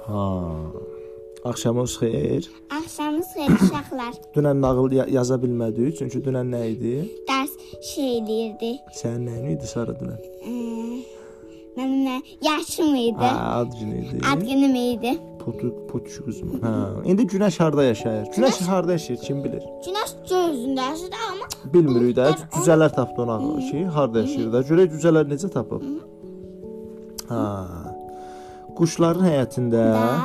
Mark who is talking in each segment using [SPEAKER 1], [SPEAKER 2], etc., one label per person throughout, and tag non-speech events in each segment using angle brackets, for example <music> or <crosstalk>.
[SPEAKER 1] Ha. Axşamınız xeyir.
[SPEAKER 2] Axşamınız xeyir uşaqlar.
[SPEAKER 1] Dünən nağıl ya- yaza bilmədik, çünki dünən nə idi?
[SPEAKER 2] Dərs şey eləyirdi.
[SPEAKER 1] Sənin nəyin idi Sara dünən?
[SPEAKER 2] Eee, Mənim nə yaşım idi.
[SPEAKER 1] Ha, ad günü idi.
[SPEAKER 2] Ad günüm idi.
[SPEAKER 1] Potu, potu qızım. Ha. İndi Günəş harda yaşayır? Günəş harda yaşayır, kim bilir?
[SPEAKER 2] Günəş gözündə yaşadı amma
[SPEAKER 1] Bilmirik də.
[SPEAKER 2] buludlar onu-
[SPEAKER 1] Cüzələr tapdı ona ki, harda yaşayır da. Görək cüzələr necə tapıb. Ha. Quşların həyətində
[SPEAKER 2] da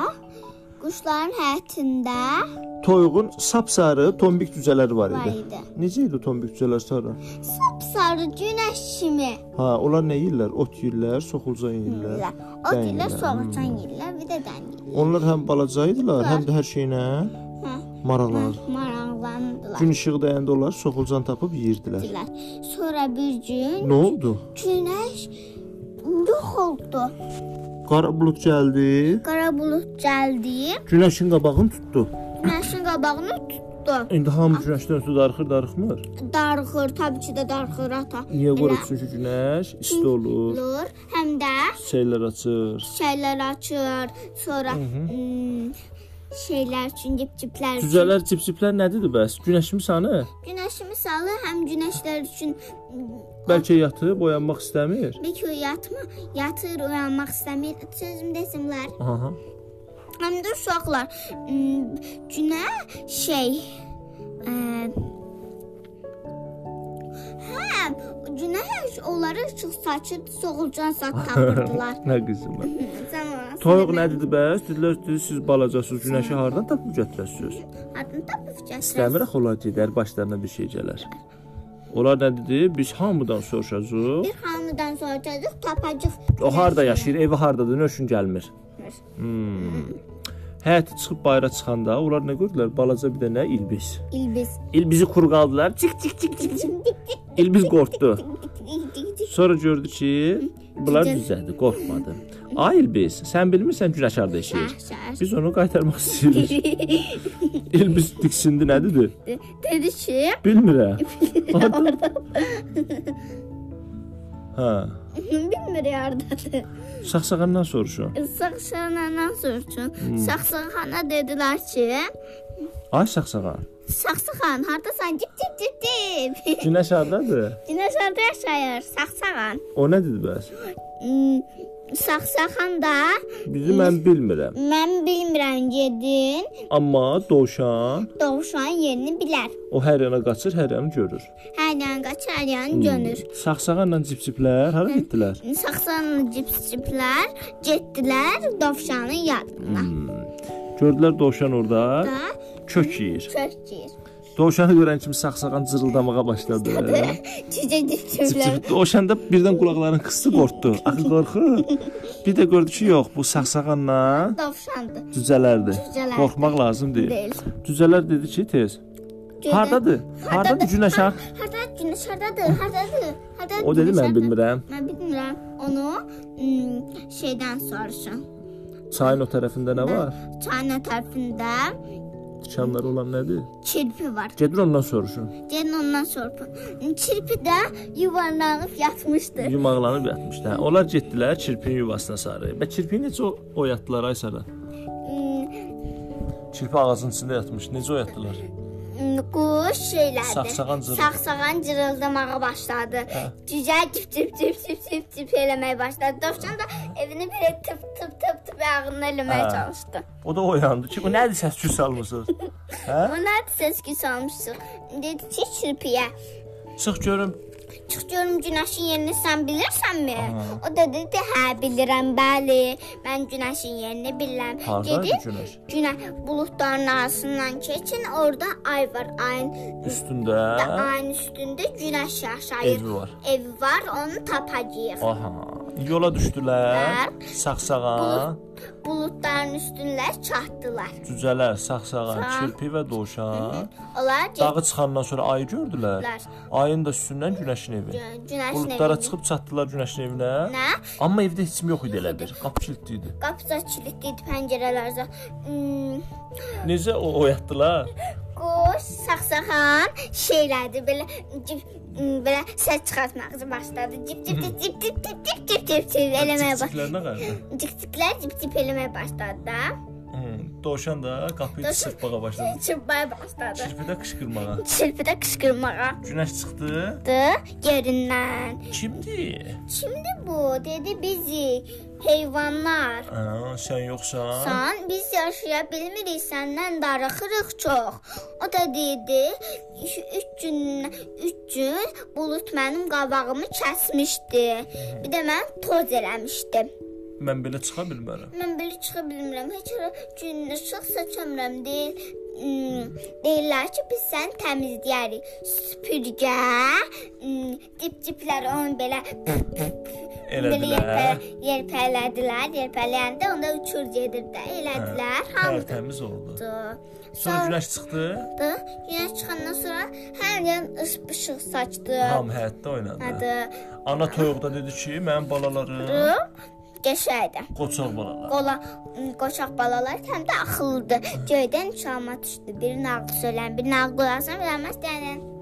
[SPEAKER 2] quşların həyətində
[SPEAKER 1] toyuğun sapsarı tombik cüzələri var
[SPEAKER 2] var
[SPEAKER 1] idi.
[SPEAKER 2] idi.
[SPEAKER 1] Necə idi o tombik cüzələr sonra?
[SPEAKER 2] Sarı günəş kimi.
[SPEAKER 1] Ha, onlar nə yeyirlər? Ot yeyirlər, soxulcan yeyirlər.
[SPEAKER 2] O dillər
[SPEAKER 1] Dəyirlər,
[SPEAKER 2] soğucan yillər, bir də dəniz.
[SPEAKER 1] Onlar həm balaca idilər,
[SPEAKER 2] Var.
[SPEAKER 1] həm də hər şeyinə
[SPEAKER 2] Hə.
[SPEAKER 1] maraqlar.
[SPEAKER 2] Maraqlandılar.
[SPEAKER 1] Gün işığı dəyəndə onlar soxulcan tapıb yeyirdilər.
[SPEAKER 2] Gündülər. Sonra bir gün
[SPEAKER 1] Nə oldu?
[SPEAKER 2] günəş yox oldu.
[SPEAKER 1] Qara bulud gəldi,
[SPEAKER 2] Qara bulud gəldi.
[SPEAKER 1] günəşin qabağını tutdu.
[SPEAKER 2] Günəşin qabağını tutdu.
[SPEAKER 1] İndi hamı günəşdən ötürü darıxır, darıxmır.
[SPEAKER 2] Darıxır, təbii ki də darıxır ata.
[SPEAKER 1] Niyə
[SPEAKER 2] Elə
[SPEAKER 1] görə? Çünki günəş isti olur,
[SPEAKER 2] olur. Həm də
[SPEAKER 1] şeylər açır.
[SPEAKER 2] şeylər açır, sonra mm, şeylər üçün cip-ciplər üçün.
[SPEAKER 1] Cüzələr, cipciplər nədir bəs? Günəşimi səni?
[SPEAKER 2] Günəşi misalı həm günəşlər üçün mm,
[SPEAKER 1] Bəlkə yatıb oyanmaq istəmir.
[SPEAKER 2] bir köy yatma, yatır, oyanmaq istəmir. Sözüm desinlər.
[SPEAKER 1] Aha.
[SPEAKER 2] Həm də uşaqlar mm, günə şey ə, hə, günəş onlara işıq saçır, soğulcan sat tapırdılar.
[SPEAKER 1] <laughs> Nə qızım? mən?
[SPEAKER 2] Sən ona-
[SPEAKER 1] Toyuq nədir bəs? Dedilər, dedilər siz balacasınız, günəşi hardan tapıb gətirəsiniz?
[SPEAKER 2] Adını tapıb gətirəcəm.
[SPEAKER 1] İstəmir axı onlar deyər, başlarına bir şey gələr. Onlar nə dedi? Biz hamıdan soruşacağıq.
[SPEAKER 2] Bir hamıdan soracağıq, tapacağıq.
[SPEAKER 1] O harda yaşayır, evi hardadır, nöşün gəlmir. Həyətə çıxıb bayıra çıxanda onlar nə gördülər? Balaca bir dənə ilbiz. <laughs>
[SPEAKER 2] İlbiz.
[SPEAKER 1] İlbizi qurqaldılar. Cik cik cik cik cik. İlbiz qorxdu. Sonra gördü ki, bunlar düzəldi, qorxmadı. Ay İlbiz, sən bilmirsən günəş harda yaşayır.
[SPEAKER 2] Şəhər.
[SPEAKER 1] Biz onu qaytarmaq istəyirik. İlbiz diksindi, nə dedi?
[SPEAKER 2] Dedi ki,
[SPEAKER 1] Bilmirəm. Adam... Hə.
[SPEAKER 2] bilmir yardadır.
[SPEAKER 1] Saxsağandan soruşun.
[SPEAKER 2] Saxsağandan soruşun.
[SPEAKER 1] Hmm.
[SPEAKER 2] Saxsağana dedilər ki,
[SPEAKER 1] Ay saxsağan.
[SPEAKER 2] Saxsağan hardasan? Cip cip cip cip. <laughs>
[SPEAKER 1] Günəş hardadır?
[SPEAKER 2] Dinozorda yaşayır Saxsağan.
[SPEAKER 1] O nədir bəs?
[SPEAKER 2] Hmm, Saxsağan da
[SPEAKER 1] Bizi mən bilmirəm.
[SPEAKER 2] mən bilmirəm gedin
[SPEAKER 1] Amma dovşan
[SPEAKER 2] doğuşan yerini bilər.
[SPEAKER 1] o hər yana qaçır, hər yanı görür.
[SPEAKER 2] Hər yan qaçır, hər
[SPEAKER 1] Hmm.
[SPEAKER 2] yan görür.
[SPEAKER 1] Saxsağanla cipciplər hara getdilər?
[SPEAKER 2] Saxsanlı cipsciplər getdilər dovşanın yanına.
[SPEAKER 1] Hmm. Gördülər dovşan orada
[SPEAKER 2] Da
[SPEAKER 1] kök yeyir.
[SPEAKER 2] çöz çiğir.
[SPEAKER 1] Dovşanı görən kimi saxsağan cırıldamağa başladı.
[SPEAKER 2] Çiçə cipsciplər.
[SPEAKER 1] Cip-cip- Dovşan da birdən qulaqlarını qısdı, qorxdu. Axı qorxu. Bir də gördü ki, yox, bu saxsağanla
[SPEAKER 2] Dovşandı.
[SPEAKER 1] cücələrdir.
[SPEAKER 2] Cücələrdir.
[SPEAKER 1] Qorxmaq lazım deyil.
[SPEAKER 2] Deyil.
[SPEAKER 1] Cücələr dedi ki, tez.
[SPEAKER 2] Gedə-
[SPEAKER 1] Hardadır? Hardadır günəş? ha?
[SPEAKER 2] Harda günəş hardadır? Hardadır? Hardadır?
[SPEAKER 1] O dedi
[SPEAKER 2] günəş,
[SPEAKER 1] mən
[SPEAKER 2] hardadır?
[SPEAKER 1] bilmirəm.
[SPEAKER 2] Mən bilmirəm. Onu hmm, ım, şeydən soruşun.
[SPEAKER 1] Çayın o tərəfində nə var?
[SPEAKER 2] Çayın o tərəfində
[SPEAKER 1] Tikanları olan nədir?
[SPEAKER 2] kirpi var.
[SPEAKER 1] Gedir ondan soruşun.
[SPEAKER 2] Gəlin ondan Hmm, soruşun. Kirpi də yuvarlanıb yatmışdı.
[SPEAKER 1] Yumaqlanıb yatmışdı. Hə. Onlar getdilər çirpin yuvasına sarı. Və çirpini necə o- oyatdılar ay Sara?
[SPEAKER 2] Im,
[SPEAKER 1] Çirpi ağacın içində yatmış. Necə oyatdılar?
[SPEAKER 2] ım, Quş şeylərdi.
[SPEAKER 1] Saxsağan Hə. cırıldı.
[SPEAKER 2] Saxsağan cırıldamağa başladı. Cücə cip cip cip cip cip cip eləməyə başladı. Dovşan da evini belə tıp tıp tıp tıp ayağını eləməyə
[SPEAKER 1] Hə.
[SPEAKER 2] çalışdı.
[SPEAKER 1] O da oyandı ki, bu nədir səs küy salmısınız? Hə?
[SPEAKER 2] Ona səskü salmışsın. Dedi ki, kirpiyə.
[SPEAKER 1] Çıx görüm.
[SPEAKER 2] Çıx görüm günəşin yerini sən bilirsənmi? O da dedi, hə bilirəm, bəli. Mən günəşin yerini bilirəm.
[SPEAKER 1] Hardaydı günəş?
[SPEAKER 2] Günə buludların arasından keçin, orada ay var. Ayın
[SPEAKER 1] Üstündə.
[SPEAKER 2] ayın üstündə günəş yaşayır.
[SPEAKER 1] Hə? Evi var.
[SPEAKER 2] Evi var, onu tapacağıq.
[SPEAKER 1] Aha. Yola düşdülər.
[SPEAKER 2] Hə.
[SPEAKER 1] Saxsağan,
[SPEAKER 2] Buludların üstünlər çatdılar.
[SPEAKER 1] cücələr, saxsağan,
[SPEAKER 2] Hə.
[SPEAKER 1] kirpi və dovşan.
[SPEAKER 2] Onlar
[SPEAKER 1] Dağı çıxandan sonra ayı gördülər.
[SPEAKER 2] Gördülər.
[SPEAKER 1] Ayın da üstündən günəşin evi.
[SPEAKER 2] getdilər günəşin
[SPEAKER 1] Buludlara
[SPEAKER 2] evinə.
[SPEAKER 1] çıxıb çatdılar günəşin evinə.
[SPEAKER 2] Nə?
[SPEAKER 1] Amma evdə heç kim yox idi elə bir. Qapı kilitli idi.
[SPEAKER 2] Qapısı açıldı, pəncərələr açıldı. Hmm.
[SPEAKER 1] Necə o oyatdılar?
[SPEAKER 2] Quş saxsaxan şeylərdi belə cip, m, belə səs çıxartmağa başladı. Cip cip cip cip cip cip cip cip cip cip
[SPEAKER 1] Hə,
[SPEAKER 2] eləməyə başladı.
[SPEAKER 1] Çiçiklərinə qarşı.
[SPEAKER 2] Cikciklər cip cip eləməyə başladı da.
[SPEAKER 1] Hmm, Dovşan da qapıyı
[SPEAKER 2] Dovşan-
[SPEAKER 1] çırpmağa başladı.
[SPEAKER 2] Çırpmaya başladı.
[SPEAKER 1] Çırpı da qışqırmağa.
[SPEAKER 2] Çırpıda qışqırmağa
[SPEAKER 1] Günəş çıxdı.
[SPEAKER 2] çıxdı yerindən.
[SPEAKER 1] Kimdi?
[SPEAKER 2] Şimdi bu dedi bizi heyvanlar.
[SPEAKER 1] Ana, Hə, sən yoxsan.
[SPEAKER 2] Sən biz yaşaya bilmirik, səndən darıxırıq çox. O da dedi, 3 gün 3 gün bulut mənim qabağımı kəsmişdi. Bir də mən toz eləmişdi.
[SPEAKER 1] Mən belə çıxa bilmərəm.
[SPEAKER 2] Mən belə çıxa bilmirəm. Heç ara gün işıq saçamıram deyil. Hmm, deyirlər ki, biz səni təmizləyərik. Süpürgə, hmm, dip-diplər onu belə Belə
[SPEAKER 1] Elədilər.
[SPEAKER 2] yerpə- yerpələdilər, yerpələyəndə onda uçur gedir də, elədilər,
[SPEAKER 1] Hər
[SPEAKER 2] hamısı.
[SPEAKER 1] təmiz Hə, oldu. Sonra
[SPEAKER 2] Sonra
[SPEAKER 1] günəş çıxdı.
[SPEAKER 2] günəş çıxandan sonra hər yer işıq saçdı.
[SPEAKER 1] Ham həyətdə oynadı.
[SPEAKER 2] Adı
[SPEAKER 1] Ana toyuq da dedi ki, mənim balalarım
[SPEAKER 2] Ru, qəşəydi.
[SPEAKER 1] qoçaq balalar.
[SPEAKER 2] Qola qoçaq balalar həm də axıllıdır. Göydən çalma düşdü. Birinin ağlı söylən, birinin ağlı qulaqsan, bilməz deyən.